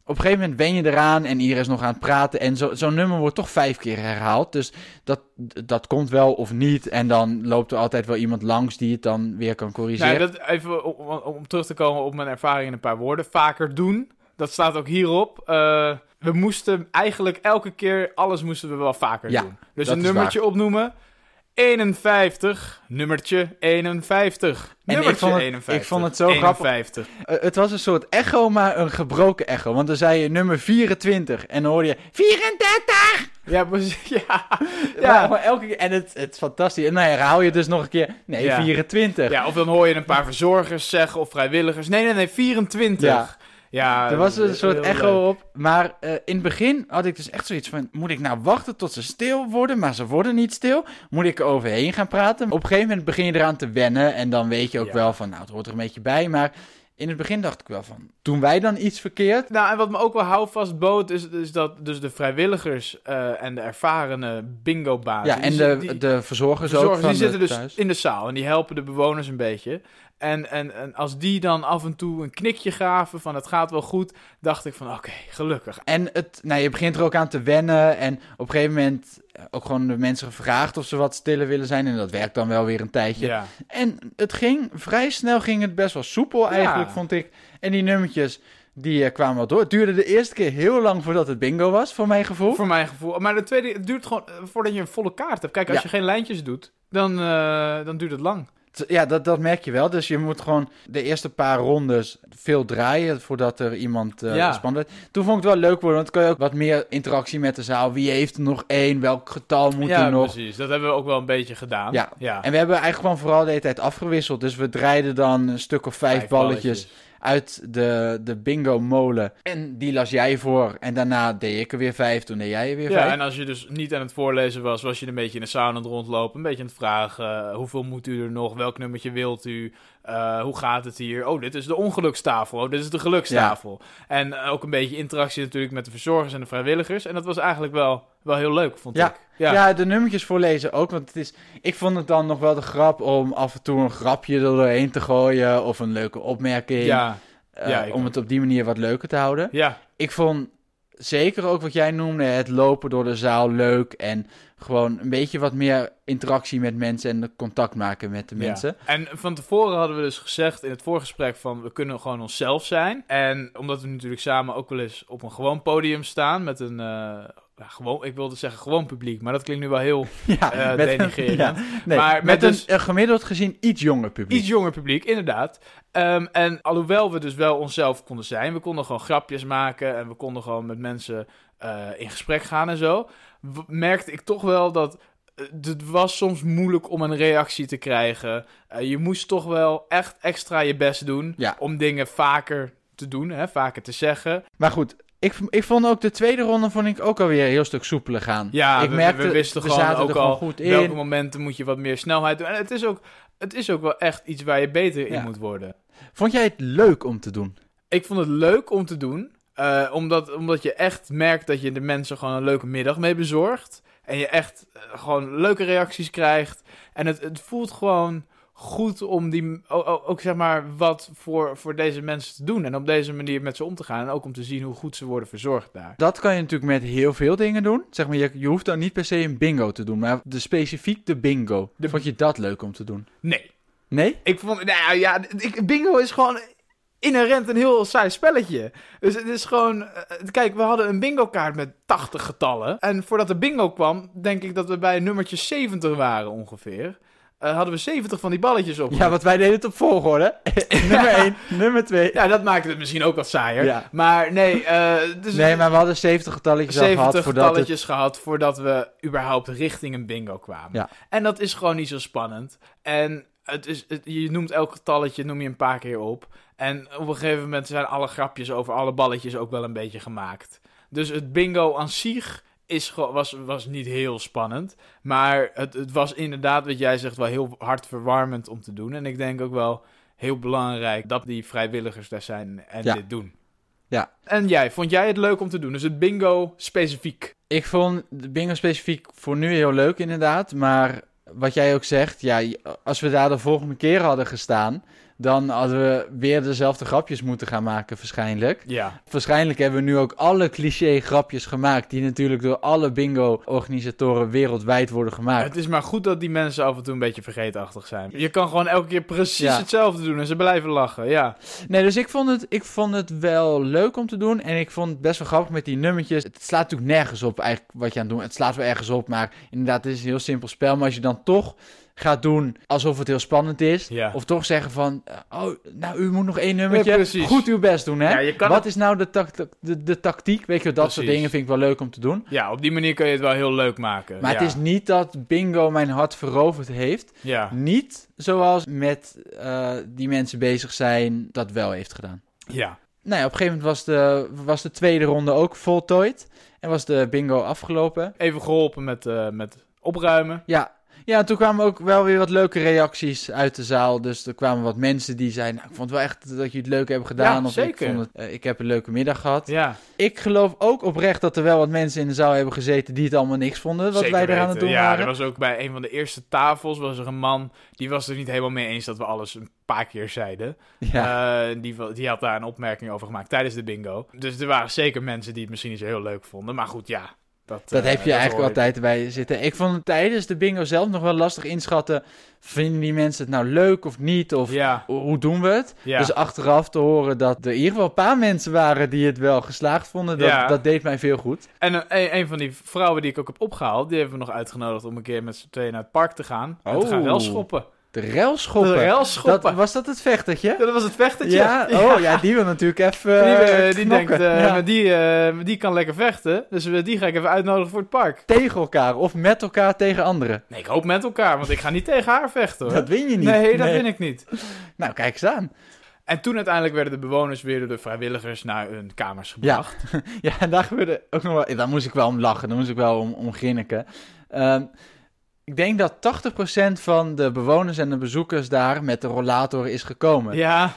Speaker 2: Op een gegeven moment wen je eraan en iedereen is nog aan het praten. En zo- zo'n nummer wordt toch vijf keer herhaald. Dus dat, dat komt wel of niet. En dan loopt er altijd wel iemand langs die het dan weer kan corrigeren.
Speaker 1: Nou, dat even om, om- om terug te komen op mijn ervaring in een paar woorden. Vaker doen. Dat staat ook hierop. Eh, we moesten eigenlijk elke keer alles moesten we wel vaker
Speaker 2: Ja,
Speaker 1: doen. Dus
Speaker 2: dat
Speaker 1: een
Speaker 2: is
Speaker 1: nummertje opnoemen. 51. Nummertje 51.
Speaker 2: En ik
Speaker 1: nummertje
Speaker 2: vond het-
Speaker 1: 51.
Speaker 2: ik vond het zo grappig.
Speaker 1: 51.
Speaker 2: Eh, het was een soort echo, maar een gebroken echo. Want dan zei je nummer 24 en dan hoorde je 34!
Speaker 1: Ja, precies. Ja.
Speaker 2: Ja,
Speaker 1: Ja.
Speaker 2: maar elke keer. En het, het is fantastisch. En dan herhaal je dus nog een keer. Nee,
Speaker 1: Ja.
Speaker 2: 24.
Speaker 1: ja, of dan hoor je een paar verzorgers zeggen of vrijwilligers. Nee, nee, nee, 24.
Speaker 2: Ja.
Speaker 1: Ja.
Speaker 2: er was een
Speaker 1: heel
Speaker 2: soort
Speaker 1: leuk.
Speaker 2: echo op. Maar eh, in het begin had ik dus echt zoiets van: moet ik nou wachten tot ze stil worden? Maar ze worden niet stil. Moet ik er overheen gaan praten? Op een gegeven moment begin je eraan te wennen. En dan weet je ook
Speaker 1: Ja.
Speaker 2: wel van: nou, het hoort er een beetje bij. Maar in het begin dacht ik wel van: doen wij dan iets verkeerd?
Speaker 1: Nou, en wat me ook wel houvast bood, is, is dat dus de vrijwilligers eh, en de ervarene bingo-bazen...
Speaker 2: Ja, en
Speaker 1: die-
Speaker 2: de,
Speaker 1: die-
Speaker 2: de verzorgers, ook.
Speaker 1: verzorgers,
Speaker 2: Van
Speaker 1: die zitten
Speaker 2: het
Speaker 1: dus
Speaker 2: thuis.
Speaker 1: in de zaal en die helpen de bewoners een beetje. En, en, en als die dan af en toe een knikje gaven van het gaat wel goed, dacht ik van oké, gelukkig.
Speaker 2: En het, nou, je begint er ook aan te wennen. En op een gegeven moment eh, ook gewoon de mensen gevraagd of ze wat stiller willen zijn. En dat werkt dan wel weer een tijdje.
Speaker 1: Ja.
Speaker 2: En het ging vrij snel, ging het best wel soepel eigenlijk,
Speaker 1: Ja.
Speaker 2: vond ik. En die nummertjes, die eh, kwamen wel door. Het duurde de eerste keer heel lang voordat het bingo was, voor mijn gevoel.
Speaker 1: Voor mijn gevoel. Maar de tweede, het duurt gewoon eh, voordat je een volle kaart hebt. Kijk, als
Speaker 2: Ja.
Speaker 1: je geen lijntjes doet, dan, eh, dan duurt het lang.
Speaker 2: T- Ja, dat, dat merk je wel. Dus je moet gewoon de eerste paar rondes veel draaien voordat er iemand eh
Speaker 1: Ja.
Speaker 2: gespannen werd. Toen vond ik het wel leuk worden, want dan kon je ook wat meer interactie met de zaal. Wie heeft er nog één? Welk getal moet
Speaker 1: ja,
Speaker 2: er nog?
Speaker 1: precies. Dat hebben we ook wel een beetje gedaan.
Speaker 2: Ja.
Speaker 1: ja.
Speaker 2: En we hebben eigenlijk gewoon vooral de hele tijd afgewisseld. Dus we draaiden dan een stuk of vijf, balletjes. uit de, de bingo molen. En die las jij voor. En daarna deed ik er weer vijf. Toen deed jij er weer
Speaker 1: Ja,
Speaker 2: vijf.
Speaker 1: en als je dus niet aan het voorlezen was, was je een beetje in de sauna aan het rondlopen. Een beetje aan het vragen, eh, hoeveel moet u er nog? Welk nummertje wilt u? Eh, hoe gaat het hier? Oh, dit is de ongelukstafel. Oh, dit is de gelukstafel. En eh, ook een beetje interactie natuurlijk met de verzorgers en de vrijwilligers. En dat was eigenlijk wel, wel heel leuk, vond
Speaker 2: Ja.
Speaker 1: ik.
Speaker 2: Ja. de nummertjes voorlezen ook. Want het is, ik vond het dan nog wel de grap om af en toe een grapje er doorheen te gooien. Of een leuke opmerking.
Speaker 1: ja,
Speaker 2: eh,
Speaker 1: ja, ik
Speaker 2: om
Speaker 1: ook.
Speaker 2: het op die manier wat leuker te houden.
Speaker 1: ja.
Speaker 2: Ik vond zeker ook wat jij noemde, het lopen door de zaal leuk. En gewoon een beetje wat meer interactie met mensen en contact maken met de
Speaker 1: Ja.
Speaker 2: mensen.
Speaker 1: En van tevoren hadden we dus gezegd in het voorgesprek van we kunnen gewoon onszelf zijn. En omdat we natuurlijk samen ook wel eens op een gewoon podium staan met een... eh, ja, gewoon, ik wilde zeggen gewoon publiek, maar dat klinkt nu wel heel
Speaker 2: Ja,
Speaker 1: eh
Speaker 2: met-
Speaker 1: denigrerend.
Speaker 2: ja. Nee,
Speaker 1: Maar
Speaker 2: met,
Speaker 1: met
Speaker 2: een,
Speaker 1: dus-
Speaker 2: een gemiddeld gezien iets jonger publiek.
Speaker 1: Iets jonger publiek, inderdaad. Ehm, en alhoewel we dus wel onszelf konden zijn, we konden gewoon grapjes maken en we konden gewoon met mensen eh, in gesprek gaan en zo, w- merkte ik toch wel dat eh, het was soms moeilijk om een reactie te krijgen. Eh, je moest toch wel echt extra je best doen
Speaker 2: Ja.
Speaker 1: om dingen vaker te doen, hè, vaker te zeggen.
Speaker 2: Maar goed, ik, ik vond ook de tweede ronde vond ik ook alweer een heel stuk soepeler gaan.
Speaker 1: Ja,
Speaker 2: ik
Speaker 1: we,
Speaker 2: merkte,
Speaker 1: we wisten
Speaker 2: we
Speaker 1: gewoon
Speaker 2: zaten
Speaker 1: ook
Speaker 2: er gewoon
Speaker 1: al
Speaker 2: goed
Speaker 1: welke
Speaker 2: in.
Speaker 1: momenten moet je wat meer snelheid doen. En het is ook, het is ook wel echt iets waar je beter in
Speaker 2: Ja.
Speaker 1: moet worden.
Speaker 2: Vond jij het leuk om te doen?
Speaker 1: Ik vond het leuk om te doen. eh, omdat, omdat je echt merkt dat je de mensen gewoon een leuke middag mee bezorgt. En je echt eh, gewoon leuke reacties krijgt. En het, het voelt gewoon goed om die, o- o- ook zeg maar wat voor, voor deze mensen te doen. En op deze manier met ze om te gaan. En ook om te zien hoe goed ze worden verzorgd daar.
Speaker 2: Dat kan je natuurlijk met heel veel dingen doen. Zeg maar, je, je hoeft dan niet per se een bingo te doen, maar de, specifiek de bingo.
Speaker 1: De-
Speaker 2: Vond je dat leuk om te doen?
Speaker 1: Nee.
Speaker 2: Nee?
Speaker 1: Ik vond, nou ja, ja, ik, bingo is gewoon inherent een heel saai spelletje. Dus het is gewoon, eh, kijk, we hadden een bingo kaart met 80 getallen. En voordat de bingo kwam, denk ik dat we bij nummertje 70 waren ongeveer. Eh, hadden we 70 van die balletjes op.
Speaker 2: Ja, want wij deden het op volgorde. nummer 1, nummer 2.
Speaker 1: Ja, dat maakte het misschien ook wat saaier.
Speaker 2: Ja.
Speaker 1: Maar nee, eh dus
Speaker 2: Nee, maar we hadden 70 getalletjes al
Speaker 1: 70
Speaker 2: gehad voordat het...
Speaker 1: getalletjes gehad voordat we überhaupt richting een bingo kwamen.
Speaker 2: Ja.
Speaker 1: En dat is gewoon niet zo spannend. En het is, het- je noemt elk getalletje noem je een paar keer op. En op een gegeven moment zijn alle grapjes over alle balletjes ook wel een beetje gemaakt. Dus het bingo aan zich is, gewoon- was, was niet heel spannend. Maar het, het was inderdaad, wat jij zegt, wel heel hartverwarmend om te doen. En ik denk ook wel heel belangrijk dat die vrijwilligers daar zijn en
Speaker 2: Ja.
Speaker 1: dit doen.
Speaker 2: Ja.
Speaker 1: En jij, vond jij het leuk om te doen? Dus het bingo specifiek.
Speaker 2: Ik vond de bingo specifiek voor nu heel leuk, inderdaad. Maar wat jij ook zegt, ja, je- als we daar de volgende keer hadden gestaan, dan hadden we weer dezelfde grapjes moeten gaan maken, waarschijnlijk.
Speaker 1: Ja.
Speaker 2: Waarschijnlijk hebben we nu ook alle cliché grapjes gemaakt, die natuurlijk door alle bingo-organisatoren wereldwijd worden gemaakt.
Speaker 1: Het is maar goed dat die mensen af en toe een beetje vergeetachtig zijn. Je kan gewoon elke keer precies
Speaker 2: Ja.
Speaker 1: hetzelfde doen en ze blijven lachen. Ja.
Speaker 2: Nee, dus ik vond, het, ik vond het wel leuk om te doen. En ik vond het best wel grappig met die nummertjes. Het slaat natuurlijk nergens op eigenlijk wat je aan het doen. Het slaat wel ergens op, maar inderdaad, het is een heel simpel spel. Maar als je dan toch gaat doen alsof het heel spannend is.
Speaker 1: Ja.
Speaker 2: Of toch zeggen van, eh, oh, nou, u moet nog één nummertje.
Speaker 1: Ja, precies.
Speaker 2: Goed uw best doen, hè.
Speaker 1: Ja, je kan
Speaker 2: wat is nou de, tact- de, de tactiek? Weet je, wel, dat soort
Speaker 1: Precies.
Speaker 2: dingen vind ik wel leuk om te doen.
Speaker 1: ja, op die manier kun je het wel heel leuk maken.
Speaker 2: Maar
Speaker 1: ja.
Speaker 2: het is niet dat bingo mijn hart veroverd heeft.
Speaker 1: Ja.
Speaker 2: Niet zoals met eh, die mensen bezig zijn dat wel heeft gedaan.
Speaker 1: ja.
Speaker 2: Nou ja, op een gegeven moment was de, was de tweede ronde ook voltooid. En was de bingo afgelopen.
Speaker 1: Even geholpen met, eh, met opruimen.
Speaker 2: Ja, Ja, toen kwamen ook wel weer wat leuke reacties uit de zaal. Dus er kwamen wat mensen die zeiden... Nou, ik vond wel echt dat jullie het leuk hebben gedaan.
Speaker 1: Ja,
Speaker 2: of
Speaker 1: zeker.
Speaker 2: Ik, vond het, eh, ik heb een leuke middag gehad.
Speaker 1: Ja,
Speaker 2: Ik geloof ook oprecht dat er wel wat mensen in de zaal hebben gezeten... die het allemaal niks vonden, wat
Speaker 1: zeker
Speaker 2: wij eraan aan het
Speaker 1: weten.
Speaker 2: doen
Speaker 1: Ja,
Speaker 2: waren.
Speaker 1: er was ook bij een van de eerste tafels was er een man... die was er niet helemaal mee eens dat we alles een paar keer zeiden.
Speaker 2: Ja.
Speaker 1: Eh, die, wa- die had daar een opmerking over gemaakt tijdens de bingo. Dus er waren zeker mensen die het misschien niet zo heel leuk vonden. Maar goed, ja. Dat,
Speaker 2: Dat
Speaker 1: eh,
Speaker 2: heb je eigenlijk
Speaker 1: hoort.
Speaker 2: altijd bij zitten. Ik vond het tijdens de bingo zelf nog wel lastig inschatten. Vinden die mensen het nou leuk of niet? Of
Speaker 1: Ja,
Speaker 2: ho- hoe doen we het?
Speaker 1: ja.
Speaker 2: Dus achteraf te horen dat er in ieder geval een paar mensen waren die het wel geslaagd vonden. Dat,
Speaker 1: Ja.
Speaker 2: dat deed mij veel goed.
Speaker 1: En eh, een, een van die vrouwen die ik ook heb opgehaald... die hebben we nog uitgenodigd om een keer met z'n tweeën naar het park te gaan. En te gaan
Speaker 2: Oh.
Speaker 1: relschoppen.
Speaker 2: De railschoppen.
Speaker 1: De relschoppen.
Speaker 2: Dat, was dat het vechtertje?
Speaker 1: Dat was het vechtetje.
Speaker 2: ja? Oh ja, die wil natuurlijk even
Speaker 1: Die, eh,
Speaker 2: eh,
Speaker 1: die
Speaker 2: knokken.
Speaker 1: denkt, eh,
Speaker 2: Ja.
Speaker 1: maar die, eh, maar die kan lekker vechten. Dus eh, die ga ik even uitnodigen voor het park.
Speaker 2: Tegen elkaar of met elkaar tegen anderen.
Speaker 1: Nee, ik hoop met elkaar, want ik ga niet tegen haar vechten hoor.
Speaker 2: Dat win je niet.
Speaker 1: nee, dat win ik niet.
Speaker 2: Nou, kijk eens aan.
Speaker 1: En toen uiteindelijk werden de bewoners weer door de vrijwilligers naar hun kamers
Speaker 2: Ja.
Speaker 1: gebracht.
Speaker 2: ja, en daar gebeurde ook nog wel... Daar moest ik wel om lachen, daar moest ik wel om, om grinniken. Ehm, ik denk dat 80% van de bewoners en de bezoekers daar met de rollator is gekomen.
Speaker 1: Ja,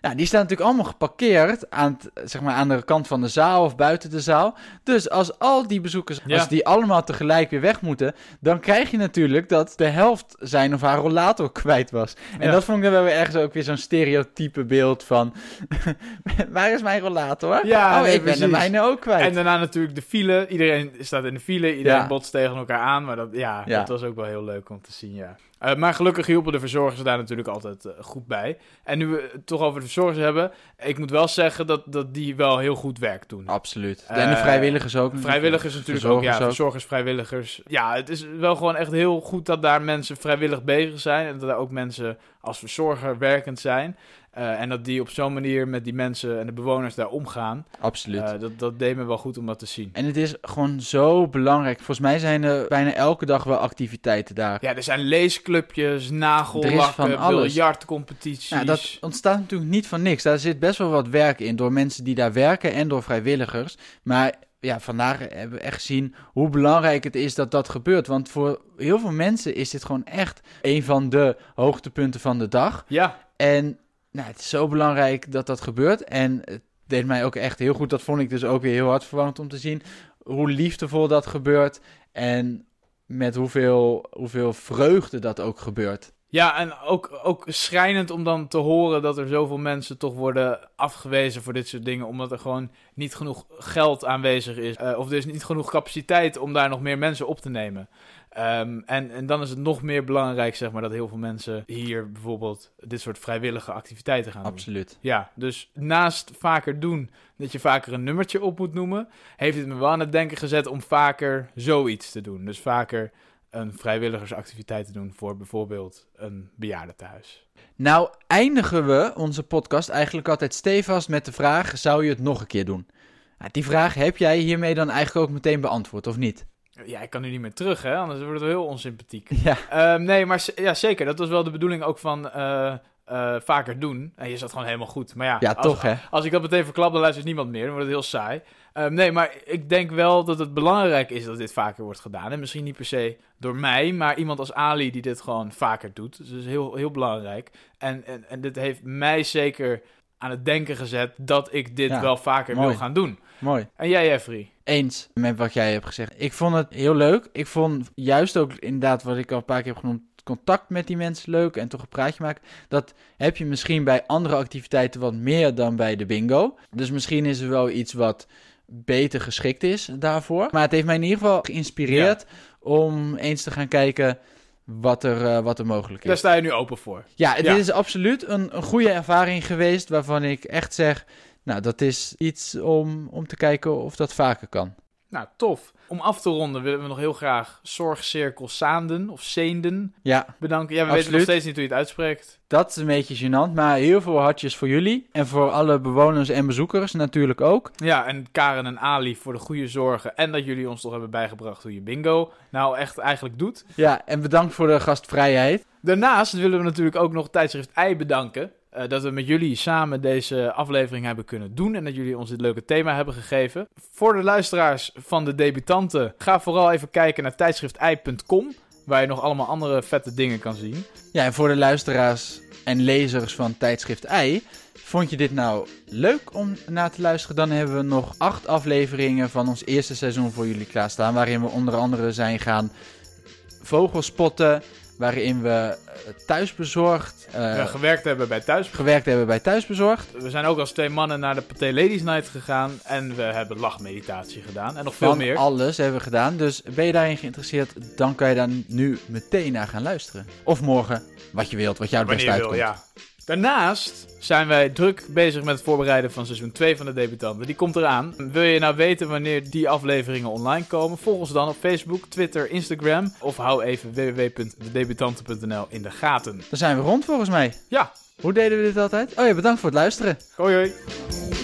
Speaker 2: Nou, die staan natuurlijk allemaal geparkeerd aan, het- zeg maar, aan de kant van de zaal of buiten de zaal. Dus als al die bezoekers,
Speaker 1: Ja.
Speaker 2: als die allemaal tegelijk weer weg moeten, dan krijg je natuurlijk dat de helft zijn of haar rollator kwijt was. En
Speaker 1: Ja.
Speaker 2: dat vond ik dan wel weer ergens ook weer zo'n stereotype beeld van, waar is mijn rollator?
Speaker 1: Ja,
Speaker 2: oh,
Speaker 1: nee,
Speaker 2: ik ben de
Speaker 1: precies.
Speaker 2: mijne ook kwijt.
Speaker 1: en daarna natuurlijk de file. Iedereen staat in de file, iedereen
Speaker 2: Ja.
Speaker 1: botst tegen elkaar aan. Maar dat, ja,
Speaker 2: Ja.
Speaker 1: dat was ook wel heel leuk om te zien, ja. Eh, maar gelukkig hielpen de verzorgers daar natuurlijk altijd eh, goed bij. En nu we het toch over de verzorgers hebben, ik moet wel zeggen dat, dat die wel heel goed werk doen.
Speaker 2: Absoluut.
Speaker 1: Eh,
Speaker 2: en de vrijwilligers ook.
Speaker 1: Vrijwilligers natuurlijk ook,
Speaker 2: Verzorgers
Speaker 1: ja.
Speaker 2: ook.
Speaker 1: Verzorgers, vrijwilligers. Ja, het is wel gewoon echt heel goed dat daar mensen vrijwillig bezig zijn. En dat daar ook mensen als verzorger werkend zijn. Eh, en dat die op zo'n manier met die mensen en de bewoners daar omgaan.
Speaker 2: Absoluut.
Speaker 1: Eh, dat, dat deed me wel goed om dat te zien.
Speaker 2: en het is gewoon zo belangrijk. Volgens mij zijn er bijna elke dag wel activiteiten daar.
Speaker 1: Ja, er zijn leesclubjes,
Speaker 2: Er is van
Speaker 1: nagellakken,
Speaker 2: alles.
Speaker 1: biljartcompetities.
Speaker 2: Nou, dat ontstaat natuurlijk niet van niks. Daar zit best wel wat werk in door mensen die daar werken en door vrijwilligers. Maar ja, vandaag hebben we echt gezien hoe belangrijk het is dat dat gebeurt. Want voor heel veel mensen is dit gewoon echt een van de hoogtepunten van de dag.
Speaker 1: Ja,
Speaker 2: En nou, het is zo belangrijk dat dat gebeurt. En het deed mij ook echt heel goed. Dat vond ik dus ook weer heel hartverwarmend om te zien. Hoe liefdevol dat gebeurt. En met hoeveel, hoeveel vreugde dat ook gebeurt.
Speaker 1: ja en ook, ook schrijnend om dan te horen dat er zoveel mensen toch worden afgewezen voor dit soort dingen. Omdat er gewoon niet genoeg geld aanwezig is. eh, of er is niet genoeg capaciteit om daar nog meer mensen op te nemen. Ehm, en, en dan is het nog meer belangrijk, zeg maar, dat heel veel mensen hier bijvoorbeeld dit soort vrijwillige activiteiten gaan doen.
Speaker 2: Absoluut.
Speaker 1: Ja, dus naast vaker doen dat je vaker een nummertje op moet noemen, heeft het me wel aan het denken gezet om vaker zoiets te doen. Dus vaker een vrijwilligersactiviteit te doen voor bijvoorbeeld een bejaardentehuis.
Speaker 2: Nou, eindigen we onze podcast eigenlijk altijd stevast met de vraag: zou je het nog een keer doen? Nou, die vraag heb jij hiermee dan eigenlijk ook meteen beantwoord, of niet?
Speaker 1: Ja, ik kan nu niet meer terug, hè? anders wordt het wel heel onsympathiek.
Speaker 2: Ja,
Speaker 1: Ehm, nee, maar z- ja, zeker. Dat was wel de bedoeling ook van eh, eh, vaker doen. En je zat gewoon helemaal goed. Maar ja,
Speaker 2: ja
Speaker 1: als-
Speaker 2: toch hè?
Speaker 1: Als ik dat meteen verklap, dan luistert niemand meer. Dan wordt het heel saai. Ehm, nee, maar ik denk wel dat het belangrijk is dat dit vaker wordt gedaan. En misschien niet per se door mij, maar iemand als Ali die dit gewoon vaker doet. Dus dat is heel, heel belangrijk. En, en, en dit heeft mij zeker aan het denken gezet dat ik dit
Speaker 2: Ja,
Speaker 1: wel vaker
Speaker 2: mooi.
Speaker 1: wil gaan doen.
Speaker 2: Mooi.
Speaker 1: En jij, Jeffrey?
Speaker 2: Eens met wat jij hebt gezegd. Ik vond het heel leuk. Ik vond juist ook inderdaad wat ik al een paar keer heb genoemd. Contact met die mensen leuk en toch een praatje maken. Dat heb je misschien bij andere activiteiten wat meer dan bij de bingo. Dus misschien is er wel iets wat beter geschikt is daarvoor. Maar het heeft mij in ieder geval geïnspireerd om eens te gaan kijken wat er, eh, wat er mogelijk is.
Speaker 1: Daar sta je nu open voor.
Speaker 2: Ja, dit
Speaker 1: Ja.
Speaker 2: is absoluut een, een goede ervaring geweest waarvan ik echt zeg... Nou, dat is iets om, om te kijken of dat vaker kan.
Speaker 1: Nou, tof. Om af te ronden willen we nog heel graag Zorgcirkel Saanden of Zeenden
Speaker 2: Ja,
Speaker 1: bedanken. Ja, we weten nog
Speaker 2: Absoluut.
Speaker 1: steeds niet hoe je het uitspreekt.
Speaker 2: Dat is een beetje gênant, maar heel veel hartjes voor jullie. En voor alle bewoners en bezoekers natuurlijk ook.
Speaker 1: Ja, en Karen en Ali voor de goede zorgen. En dat jullie ons toch hebben bijgebracht hoe je bingo nou echt eigenlijk doet.
Speaker 2: Ja, en bedankt voor de gastvrijheid.
Speaker 1: Daarnaast willen we natuurlijk ook nog tijdschrift Ei bedanken. eh, dat we met jullie samen deze aflevering hebben kunnen doen. En dat jullie ons dit leuke thema hebben gegeven. Voor de luisteraars van de debutanten, ga vooral even kijken naar tijdschriftei.com. Waar je nog allemaal andere vette dingen kan zien.
Speaker 2: Ja, en voor de luisteraars en lezers van tijdschrift Ei. Vond je dit nou leuk om na te luisteren? Dan hebben we nog acht afleveringen van ons eerste seizoen voor jullie klaarstaan. Waarin we onder andere zijn gaan vogelspotten. Waarin we eh, thuisbezorgd eh,
Speaker 1: We gewerkt hebben bij Thuis.
Speaker 2: gewerkt hebben bij thuisbezorgd.
Speaker 1: We zijn ook als twee mannen naar de Pathé Ladies Night gegaan. En we hebben lachmeditatie gedaan. En nog veel
Speaker 2: Van
Speaker 1: meer.
Speaker 2: alles hebben we gedaan. Dus ben je daarin geïnteresseerd, dan kan je daar nu meteen naar gaan luisteren. Of morgen, wat je wilt, wat jou het beste
Speaker 1: Wanneer je wil,
Speaker 2: uitkomt.
Speaker 1: ja. Daarnaast zijn wij druk bezig met het voorbereiden van seizoen 2 van de debutanten. Die komt eraan. Wil je nou weten wanneer die afleveringen online komen? Volg ons dan op Facebook, Twitter, Instagram. Of hou even www.dedebutanten.nl in de gaten.
Speaker 2: Dan zijn we rond volgens mij.
Speaker 1: Ja,
Speaker 2: Hoe deden we dit altijd? Oh ja, bedankt voor het luisteren.
Speaker 1: hoi hoi.